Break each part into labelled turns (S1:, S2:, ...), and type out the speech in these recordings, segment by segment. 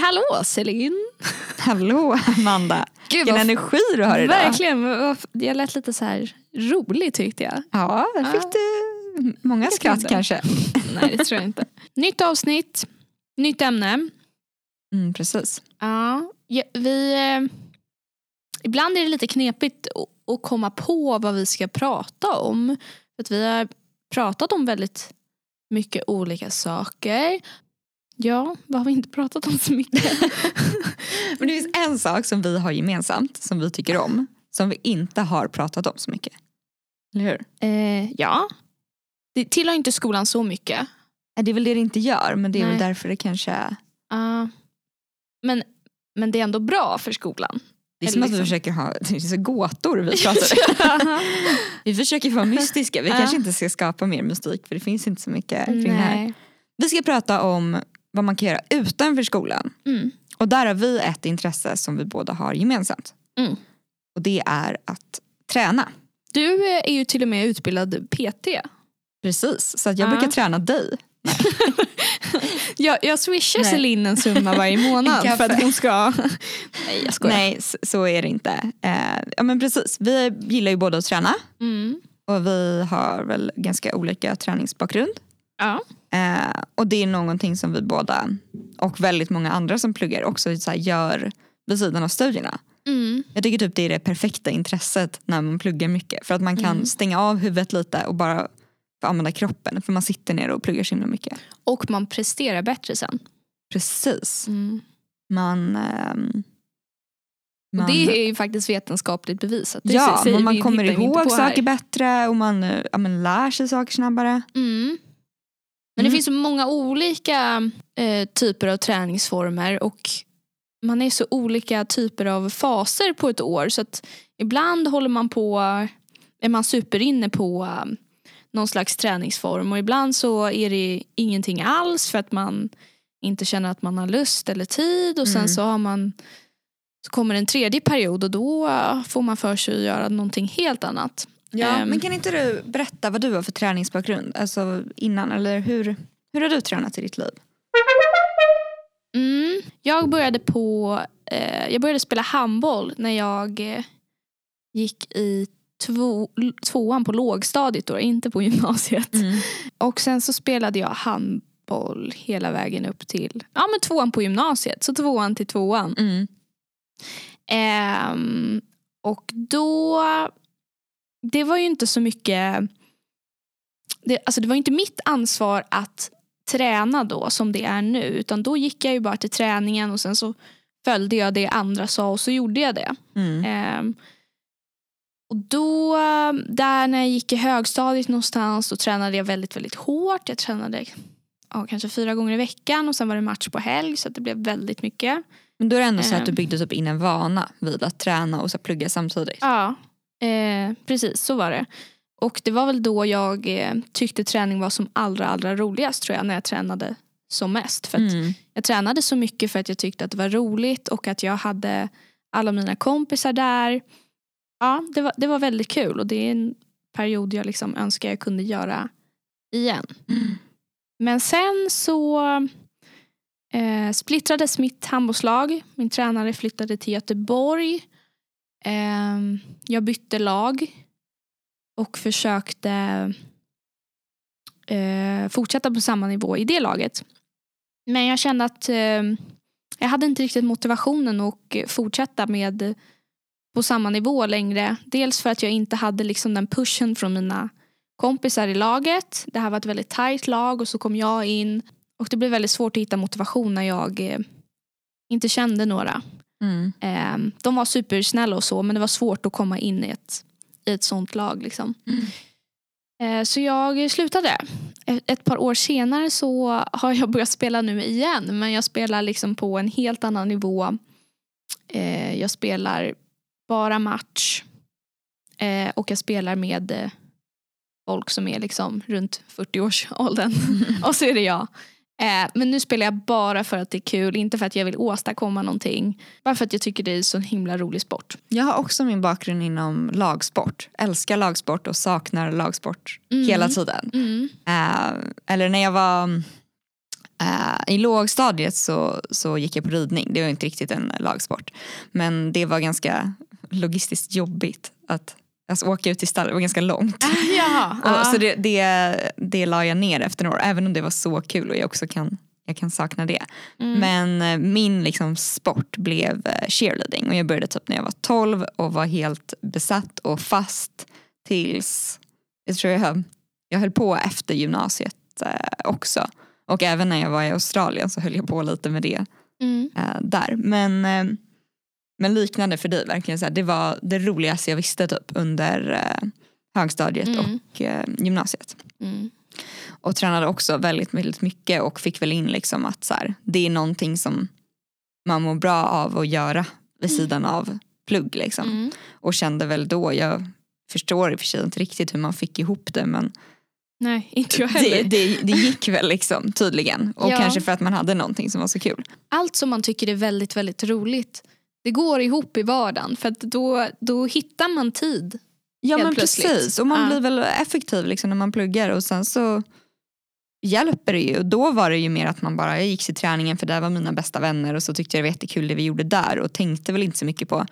S1: hallå Celine!
S2: Hallå Amanda,
S1: Gud,
S2: vilken
S1: vad-
S2: energi du har idag.
S1: Verkligen, vad- vad- jag lät lite så här rolig tyckte jag.
S2: Ja, där
S1: Ja.
S2: fick du många
S1: fick
S2: skratt
S1: det.
S2: kanske.
S1: Nej det tror jag inte. Nytt avsnitt, nytt ämne.
S2: Mm, precis.
S1: Ja, ja, vi, eh, ibland är det lite knepigt o- att komma på vad vi ska prata om. För att vi har pratat om väldigt mycket olika saker. Ja, vad har vi inte pratat om så mycket?
S2: Men det finns en sak som vi har gemensamt, som vi tycker om, som vi inte har pratat om så mycket. Eller hur?
S1: eh, ja, det tillhör inte skolan så mycket.
S2: Nej, Det är väl det det inte gör, men det är
S1: Nej.
S2: väl därför det kanske...
S1: Ja. men, men det är ändå bra för skolan.
S2: Det är som
S1: Eller
S2: att vi
S1: liksom-
S2: försöker ha det är så gåtor vi pratar. vi försöker vara mystiska. Vi
S1: Ja.
S2: kanske inte ska skapa mer mystik för det finns inte så mycket kring det här.
S1: Nej.
S2: Vi ska prata om vad man kan göra utanför skolan.
S1: Mm.
S2: Och där har vi ett intresse som vi båda har gemensamt.
S1: Mm.
S2: Och det är att träna.
S1: Du eh, är ju till och med utbildad PT.
S2: Precis, så att jag
S1: Ja.
S2: brukar träna dig.
S1: Jag, jag swishar
S2: Nej.
S1: Celine en summa varje
S2: En
S1: månad för
S2: kaffe.
S1: att hon ska... Nej jag skojar.
S2: Nej, s- så är det inte. Eh, ja, men precis. Vi gillar ju båda att träna
S1: Mm.
S2: och vi har väl ganska olika träningsbakgrund.
S1: Ja.
S2: Eh, och det är någonting som vi båda och väldigt många andra som pluggar också så här, gör vid sidan av studierna.
S1: Mm.
S2: Jag tycker typ det är det perfekta intresset när man pluggar mycket för att man kan
S1: Mm.
S2: stänga av huvudet lite och bara få använda kroppen för man sitter ner och pluggar så himla mycket.
S1: Och man presterar bättre sen. Mm.
S2: Precis. Man... ehm,
S1: Och det är ju faktiskt vetenskapligt bevisat. Det
S2: ja,
S1: säger
S2: men man
S1: vi-
S2: kommer
S1: hittar vi inte
S2: ihåg
S1: på här.
S2: saker bättre och man, eh, ja, men lär sig saker snabbare.
S1: Mm. Men det
S2: Mm.
S1: finns så många olika eh, typer av träningsformer och man är så olika typer av faser på ett år så att ibland håller man på, är man superinne på eh, någon slags träningsform och ibland så är det ingenting alls för att man inte känner att man har lust eller tid och sen
S2: Mm.
S1: så har man så kommer en tredje period och då eh, får man för sig att göra någonting helt annat. Ehm.
S2: men kan inte du berätta vad du har för träningsbakgrund? Alltså innan, eller hur, hur har du tränat i ditt liv?
S1: Mm. Jag började på eh, Jag började spela handboll när jag eh, gick i två, l- tvåan på lågstadiet, då, inte på gymnasiet.
S2: Mm.
S1: Och sen så spelade jag handboll hela vägen upp till ja, men tvåan på gymnasiet. Så tvåan till tvåan.
S2: Mm.
S1: Ehm, och då, det var ju inte så mycket, det, alltså det var ju inte mitt ansvar att träna då som det är nu utan då gick jag ju bara till träningen och sen så följde jag det andra sa och så gjorde jag det.
S2: Mm.
S1: Ehm, och då, där när jag gick i högstadiet någonstans, då tränade jag väldigt, väldigt hårt. Jag tränade ja, kanske fyra gånger i veckan och sen var det match på helg så att det blev väldigt mycket.
S2: Men då är det ändå så
S1: Ehm.
S2: att du byggde upp in en vana vid att träna och så plugga samtidigt.
S1: Ja, eh, precis så var det. Och det var väl då jag eh, tyckte träning var som allra allra roligast tror jag när jag tränade som mest. För att
S2: Mm.
S1: Jag tränade så mycket för att jag tyckte att det var roligt och att jag hade alla mina kompisar där. Ja, det var, det var väldigt kul och det är en period jag liksom önskar jag kunde göra igen. Men sen så eh, splittrades mitt handbollslag. Min tränare flyttade till Göteborg. Ehm, jag bytte lag och försökte eh, fortsätta på samma nivå i det laget. Men jag kände att eh, jag hade inte riktigt motivationen att fortsätta med på samma nivå längre. Dels för att jag inte hade liksom den pushen från mina kompisar i laget. Det här var ett väldigt tajt lag och så kom jag in. Och det blev väldigt svårt att hitta motivation när jag eh, inte kände några.
S2: Mm.
S1: Eh, de var supersnälla och så men det var svårt att komma in i ett, i ett sånt lag. Liksom.
S2: Mm.
S1: Eh, så jag slutade. E- Ett par år senare så har jag börjat spela nu igen men jag spelar liksom på en helt annan nivå. Eh, jag spelar bara match eh, och jag spelar med eh, folk som är liksom runt 40-årsåldern och så är det jag. Eh, men nu spelar jag bara för att det är kul, inte för att jag vill åstadkomma någonting. Bara för att jag tycker det är så himla rolig sport.
S2: Jag har också min bakgrund inom lagsport. Älskar lagsport och saknar lagsport
S1: Mm.
S2: hela tiden.
S1: Mm.
S2: Eh, eller när jag var Eh, I lågstadiet så, så gick jag på ridning, det var inte riktigt en lagsport. Men det var ganska logistiskt jobbigt att alltså, åka ut till stallet, det var ganska långt.
S1: Jaha.
S2: Och, Så det, det, det la jag ner efter några år, även om det var så kul och jag också kan, jag kan sakna det. Men eh, min liksom, sport blev eh, cheerleading och jag började typ när jag var 12 och var helt besatt och fast tills, jag tror jag höll, jag höll på efter gymnasiet eh, också. Och även när jag var i Australien så höll jag på lite med det
S1: Mm.
S2: eh, där. Men, eh, men liknande för dig, verkligen så här, det var det roligaste jag visste typ under eh, högstadiet
S1: Mm.
S2: och eh, gymnasiet.
S1: Mm.
S2: Och tränade också väldigt, väldigt mycket och fick väl in liksom att så här, det är någonting som man mår bra av att göra vid sidan av plugg. Liksom.
S1: Mm.
S2: Och kände väl då, jag förstår i och för sig inte riktigt hur man fick ihop det men
S1: Nej, inte jag heller.
S2: det, det, det gick väl liksom tydligen. Och
S1: Ja.
S2: kanske för att man hade någonting som var så kul.
S1: Allt som man tycker är väldigt, väldigt roligt det går ihop i vardagen för att då, då hittar man tid.
S2: Ja
S1: helt
S2: men
S1: plötsligt.
S2: precis och man
S1: Ja.
S2: blir väl effektiv liksom när man pluggar och sen så hjälper det ju. Och då var det ju mer att man bara, jag gick till träningen för där var mina bästa vänner och så tyckte jag det var jättekul det vi gjorde där och tänkte väl inte så mycket på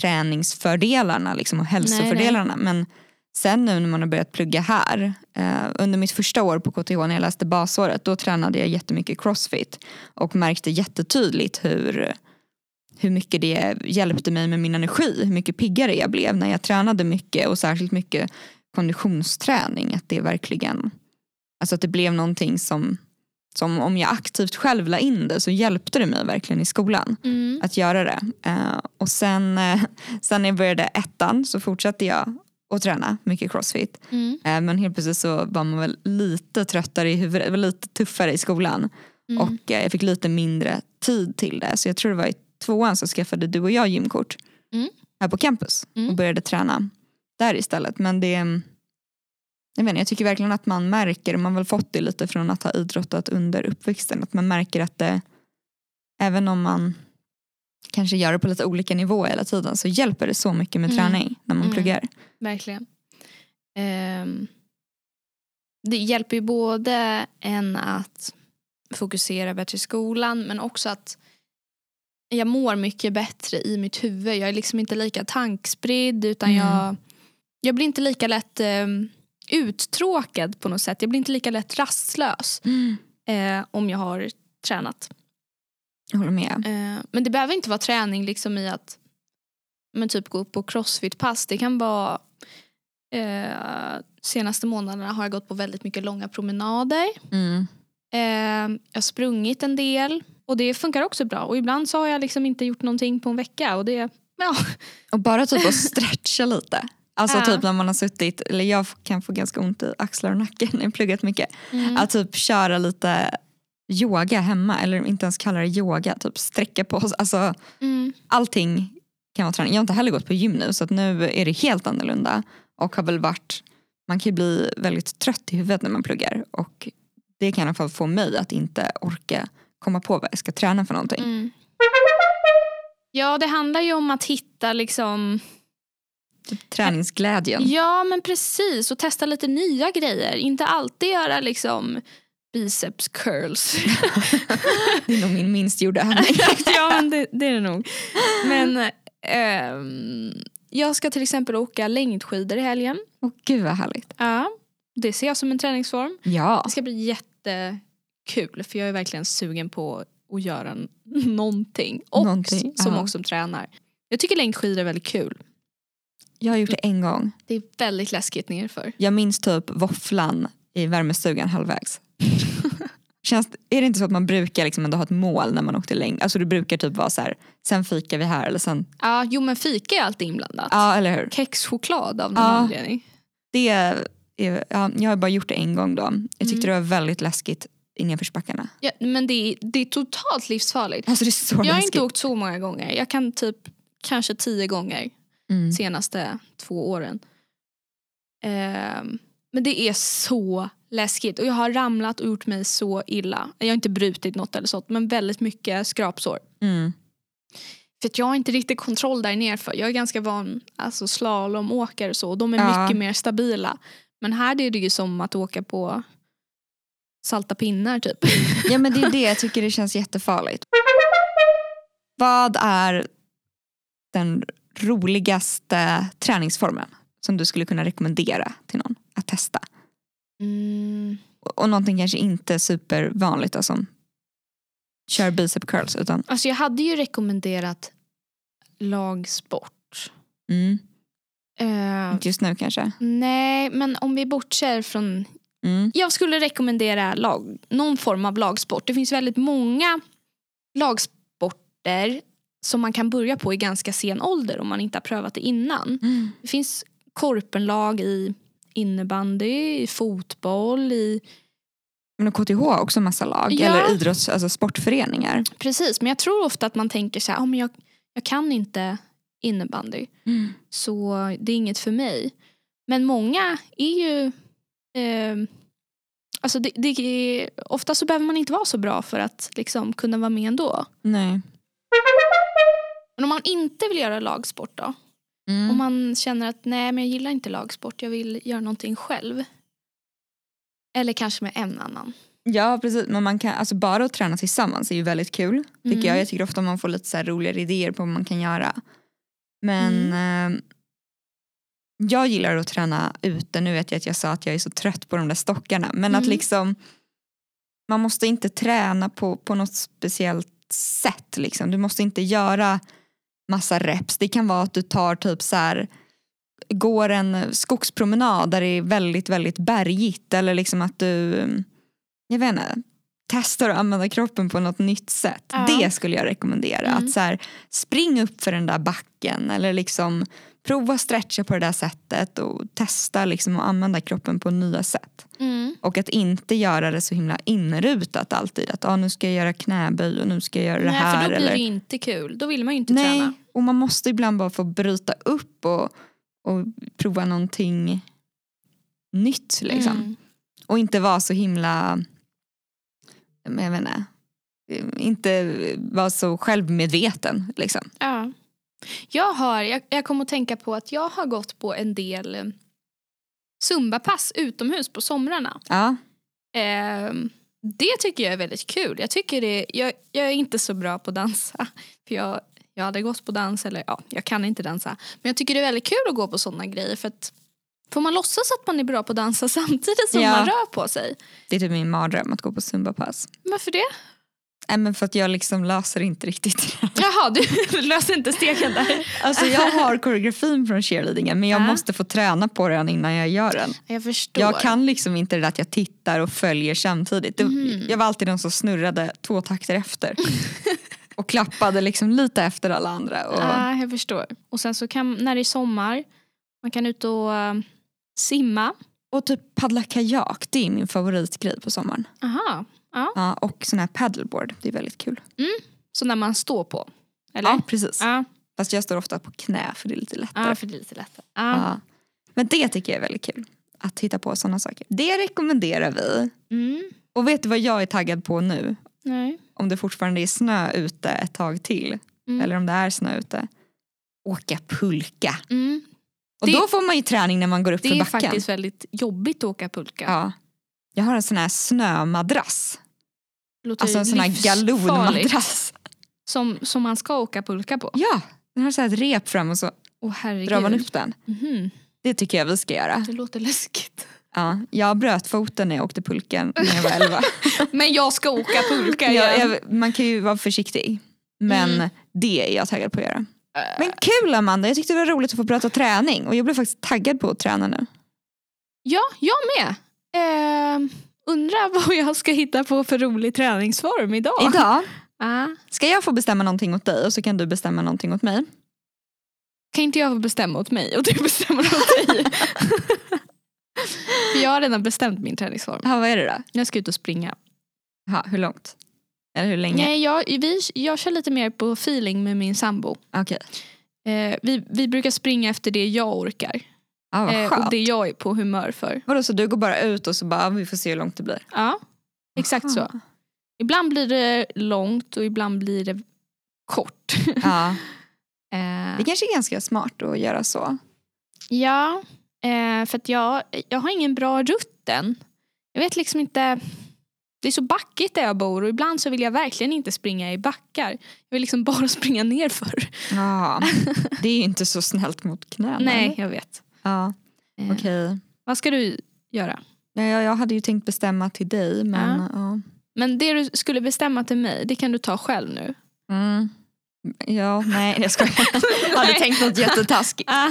S2: träningsfördelarna liksom och hälsofördelarna. Men sen nu när man har börjat plugga här, eh, under mitt första år på KTH när jag läste basåret, då tränade jag jättemycket crossfit och märkte jättetydligt hur hur mycket det hjälpte mig med min energi, hur mycket piggare jag blev när jag tränade mycket och särskilt mycket konditionsträning. Att det verkligen, alltså att det blev någonting som, som om jag aktivt själv la in det så hjälpte det mig verkligen i skolan
S1: Mm.
S2: att göra det. Eh, och sen, eh, sen när jag började ettan så fortsatte jag att träna mycket crossfit.
S1: Mm.
S2: Eh, Men helt plötsligt så var man väl lite tröttare i huvudet, det var lite tuffare i skolan.
S1: Mm.
S2: Och eh, jag fick lite mindre tid till det. Så jag tror det var i tvåan så skaffade du och jag gymkort
S1: Mm.
S2: här på campus
S1: Mm.
S2: och började träna där istället. Men det, jag, vet inte, jag tycker verkligen att man märker, och man har väl fått det lite från att ha idrottat under uppväxten, att man märker att det, även om man kanske gör det på lite olika nivåer hela tiden så hjälper det så mycket med
S1: Mm.
S2: träning när man
S1: Mm.
S2: pluggar.
S1: Verkligen. Ehm, det hjälper ju både en att fokusera bättre i skolan men också att jag mår mycket bättre i mitt huvud. Jag är liksom inte lika tankspridd utan
S2: Mm.
S1: jag, jag blir inte lika lätt ehm, uttråkad på något sätt. Jag blir inte lika lätt rastlös eh, om jag har tränat.
S2: Jag håller med.
S1: Eh, men det behöver inte vara träning liksom i att men typ gå upp på crossfit-pass. Det kan vara eh, senaste månaderna har jag gått på väldigt mycket långa promenader.
S2: Mm.
S1: Eh, jag har sprungit en del och det funkar också bra. Och ibland så har jag liksom inte gjort någonting på en vecka och det, ja.
S2: Och bara typ att stretcha lite. Alltså
S1: Ja.
S2: typ när man har suttit, eller jag kan få ganska ont i axlar och nacken när jag pluggat mycket.
S1: Mm.
S2: Att typ köra lite yoga hemma eller inte ens kalla det yoga, typ sträcka på oss. Alltså
S1: Mm.
S2: allting kan vara träning. Jag har inte heller gått på gym nu så att nu är det helt annorlunda. Och har väl varit, man kan ju bli väldigt trött i huvudet när man pluggar och det kan i alla fall få mig att inte orka komma på vad jag ska träna för någonting.
S1: Mm. Ja, det handlar ju om att hitta liksom
S2: Träningsglädjen.
S1: Ja men precis och testa lite nya grejer. Inte alltid göra liksom biceps curls.
S2: Det är nog min minst gjorda övning.
S1: ja men det, det är det nog. Men ehm, jag ska till exempel åka längdskidor i helgen.
S2: Åh gud vad härligt.
S1: Ja, det ser jag som en träningsform.
S2: Ja.
S1: Det ska bli jättekul för jag är verkligen sugen på att göra n- någonting. Och
S2: Någonting,
S1: som
S2: ja.
S1: också tränare. Jag tycker längdskidor är väldigt kul.
S2: Jag har gjort det en gång.
S1: Det är väldigt läskigt nerför.
S2: Jag minns typ våfflan i värmestugan halvvägs. Känns, är det inte så att man brukar liksom ändå ha ett mål när man åkte längd? Alltså du brukar typ vara så här, sen fikar vi här eller sen,
S1: Ja, jo men fika är alltid inblandat.
S2: ja eller hur?
S1: kexchoklad av någon
S2: Ja.
S1: anledning.
S2: Det är, ja, jag har bara gjort det en gång då. Jag tyckte
S1: Mm.
S2: det var väldigt läskigt i nedförsbackarna.
S1: Ja, men det är, det är totalt livsfarligt.
S2: Alltså det är så
S1: Jag har
S2: läskigt.
S1: inte åkt så många gånger. Jag kan typ kanske tio gånger
S2: Mm.
S1: senaste två åren. Ehm, men det är så läskigt och jag har ramlat och gjort mig så illa. Jag har inte brutit något eller sånt men väldigt mycket skrapsår.
S2: Mm.
S1: För att jag har inte riktigt kontroll där nerför. Jag är ganska van alltså slalomåkare och så och de är
S2: Ja.
S1: mycket mer stabila. Men här är det ju som att åka på salta pinnar typ.
S2: Ja men det är det, jag tycker det känns jättefarligt. Vad är den roligaste träningsformen som du skulle kunna rekommendera till någon att testa?
S1: Mm.
S2: Och någonting kanske inte supervanligt då, som kör bicep curls utan
S1: Alltså jag hade ju rekommenderat lagsport.
S2: mm,
S1: Eh,
S2: inte just nu kanske.
S1: nej, men om vi bortser från...
S2: Mm,
S1: Jag skulle rekommendera lag, någon form av lagsport. Det finns väldigt många lagsporter som man kan börja på i ganska sen ålder om man inte har prövat det innan.
S2: mm,
S1: Det finns korpenlag i innebandy, i fotboll, i...
S2: Men och KTH har också massa lag
S1: Ja.
S2: eller idrotts, alltså sportföreningar.
S1: Precis, men jag tror ofta att man tänker så här, "Ah, men jag, jag kan inte innebandy. Så det är inget för mig. Men många är ju... Eh, alltså det, det är, ofta så behöver man inte vara så bra för att liksom kunna vara med ändå.
S2: Nej.
S1: Men om man inte vill göra lagsport då?
S2: Mm.
S1: Om man känner att nej men jag gillar inte lagsport, jag vill göra någonting själv. Eller kanske med en annan.
S2: Ja precis, men man kan, alltså bara att träna tillsammans är ju väldigt kul. Tycker
S1: Mm.
S2: jag. jag tycker ofta man får lite så här roligare idéer på vad man kan göra. Men
S1: Mm.
S2: eh, jag gillar att träna ute, nu vet jag att jag sa att jag är så trött på de där stockarna. Men att
S1: Mm.
S2: liksom, man måste inte träna på, på något speciellt sätt. Liksom. Du måste inte göra massa reps. Det kan vara att du tar typ så här går en skogspromenad där det är väldigt, väldigt bergigt eller liksom att du, jag vet inte, testar att använda kroppen på något nytt sätt.
S1: Ja.
S2: Det skulle jag rekommendera.
S1: Mm.
S2: Att så här, spring upp för den där backen eller liksom prova stretcha på det där sättet och testa liksom att använda kroppen på nya sätt. Och att inte göra det så himla inrutat alltid. Att ah, nu ska jag göra knäböj och nu ska jag göra det
S1: Nej
S2: här.
S1: för då blir
S2: eller...
S1: det ju inte kul, då vill man ju inte
S2: Nej,
S1: träna.
S2: och man måste ibland bara få bryta upp och, och prova någonting nytt liksom.
S1: Mm.
S2: Och inte vara så himla, men jag vet inte, inte vara så självmedveten liksom.
S1: Ja. Jag, har, jag, jag kom att tänka på att jag har gått på en del eh, Zumba-pass utomhus på somrarna.
S2: Ja,
S1: Ehm, det tycker jag är väldigt kul. Jag, tycker det, jag, jag är inte så bra på att dansa. För jag, jag hade gått på dans, eller ja, jag kan inte dansa. Men jag tycker det är väldigt kul att gå på sådana grejer. För att Får man låtsas att man är bra på att dansa samtidigt som
S2: Ja.
S1: man rör på sig?
S2: det är typ min mardröm att gå på zumbapass.
S1: Varför det?
S2: Nej men för att jag liksom löser inte riktigt det.
S1: Jaha, du löste inte steken där.
S2: Alltså jag har koreografin från cheerleadingen men jag
S1: Ja.
S2: måste få träna på den innan jag gör den.
S1: Jag förstår.
S2: Jag kan liksom inte det där att jag tittar och följer samtidigt. Det-
S1: Mhm.
S2: Jag var alltid den som snurrade två takter efter. och klappade liksom lite efter alla andra. Och,
S1: Ja, jag förstår. Och sen så kan, när det är sommar, man kan ut och eh, simma.
S2: och typ paddla kajak, det är min favoritgrej på sommaren.
S1: Aha.
S2: Ja, och sån här paddleboard, det är väldigt kul.
S1: Så när man står på. Eller?
S2: Ja, precis.
S1: Ja,
S2: Fast jag står ofta på knä för det är lite lättare.
S1: ja för det är lite lättare. Ja.
S2: Ja. Men det tycker jag är väldigt kul. Att hitta på sådana saker. Det rekommenderar vi.
S1: Mm.
S2: Och vet du vad jag är taggad på nu?
S1: Nej.
S2: Om det fortfarande är snö ute ett tag till.
S1: Mm.
S2: eller om det är snö ute, åka pulka.
S1: Mm.
S2: Och
S1: Det-
S2: då får man ju träning när man går upp
S1: Det
S2: för
S1: är
S2: backen.
S1: faktiskt väldigt jobbigt att åka pulka.
S2: ja. Jag har en sån här snömadrass,
S1: Det låter
S2: alltså en sån här
S1: livsfarligt.
S2: galonmadrass.
S1: Som, som man ska åka pulka på.
S2: Ja, den har så här ett rep fram och så
S1: Åh herregud.
S2: drar man upp den.
S1: Mhm.
S2: Det tycker jag vi ska göra.
S1: Det låter läskigt.
S2: Ja, jag bröt foten när jag åkte pulkan när jag var elva.
S1: Men jag ska åka pulka
S2: jag,
S1: igen.
S2: jag, man kan ju vara försiktig. Men
S1: Mm. Äh.
S2: det är jag taggad på att göra. Men kul Amanda, jag tyckte det var roligt att få prata träning och jag blev faktiskt taggad på att träna nu.
S1: Ja, jag med. Ehm, undrar vad jag ska hitta på för rolig träningsform idag.
S2: Idag
S1: Ah.
S2: Ska jag få bestämma någonting åt dig och så kan du bestämma någonting åt mig?
S1: Kan inte jag få bestämma åt mig och du bestämmer åt dig? För jag har redan bestämt min träningsform.
S2: Ja, vad är det då?
S1: Jag ska ut och springa.
S2: Ja, hur långt? Eller hur länge?
S1: Nej, jag, vi, jag kör lite mer på feeling med min sambo.
S2: Okej.
S1: Eh, vi, vi brukar springa efter det jag orkar.
S2: Ja, vad
S1: Eh, och
S2: skönt.
S1: det jag är på humör för.
S2: Vadå, så du går bara ut och så bara, ja, vi får se hur långt det blir?
S1: Ja, exakt så.
S2: Aha.
S1: Ibland blir det långt och ibland blir det kort.
S2: Ja,
S1: Eh,
S2: det kanske är ganska smart att göra så.
S1: Ja, eh, för att jag, jag har ingen bra rutten. Jag vet liksom inte. Det är så backigt där jag bor och ibland så vill jag verkligen inte springa i backar. Jag vill liksom bara springa nerför.
S2: Ja, det är ju inte så snällt mot knäna.
S1: Nej,
S2: eller?
S1: jag vet.
S2: Ja,
S1: Eh,
S2: okej.
S1: Vad ska du göra?
S2: Ja, jag, jag hade ju tänkt bestämma till dig men ja.
S1: Men det du skulle bestämma till mig, det kan du ta själv nu.
S2: Mm. Ja, nej jag skojar. Jag hade
S1: Nej.
S2: tänkt något jättetaskigt.
S1: Ah.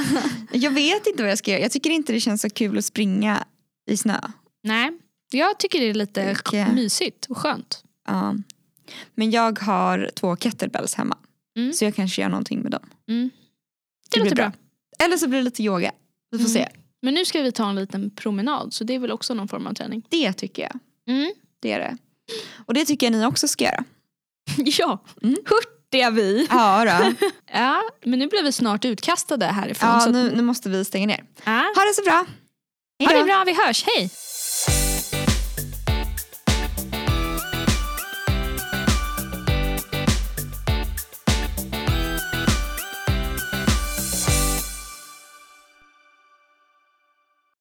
S2: Jag vet inte vad jag ska göra. Jag tycker inte det känns så kul att springa i snö.
S1: Nej, jag tycker det är lite
S2: Okej.
S1: mysigt och skönt.
S2: Ja. Men jag har två kettlebells hemma.
S1: Mm.
S2: Så jag kanske gör någonting med dem.
S1: Mm. Det,
S2: blir
S1: låter bra.
S2: Eller så blir det lite yoga. Vi får
S1: Mm.
S2: se.
S1: Men nu ska vi ta en liten promenad så det är väl också någon form av träning.
S2: Det tycker jag.
S1: Mm.
S2: Det är det. Och det tycker jag ni också ska göra.
S1: Ja,
S2: Mm.
S1: hurtiga vi.
S2: Ja, då.
S1: Ja, men nu blir vi snart utkastade härifrån.
S2: ja
S1: så att-
S2: nu, nu måste vi stänga ner.
S1: ja.
S2: Ha det så bra.
S1: Ha
S2: Hej
S1: det
S2: då.
S1: bra, vi hörs. Hej!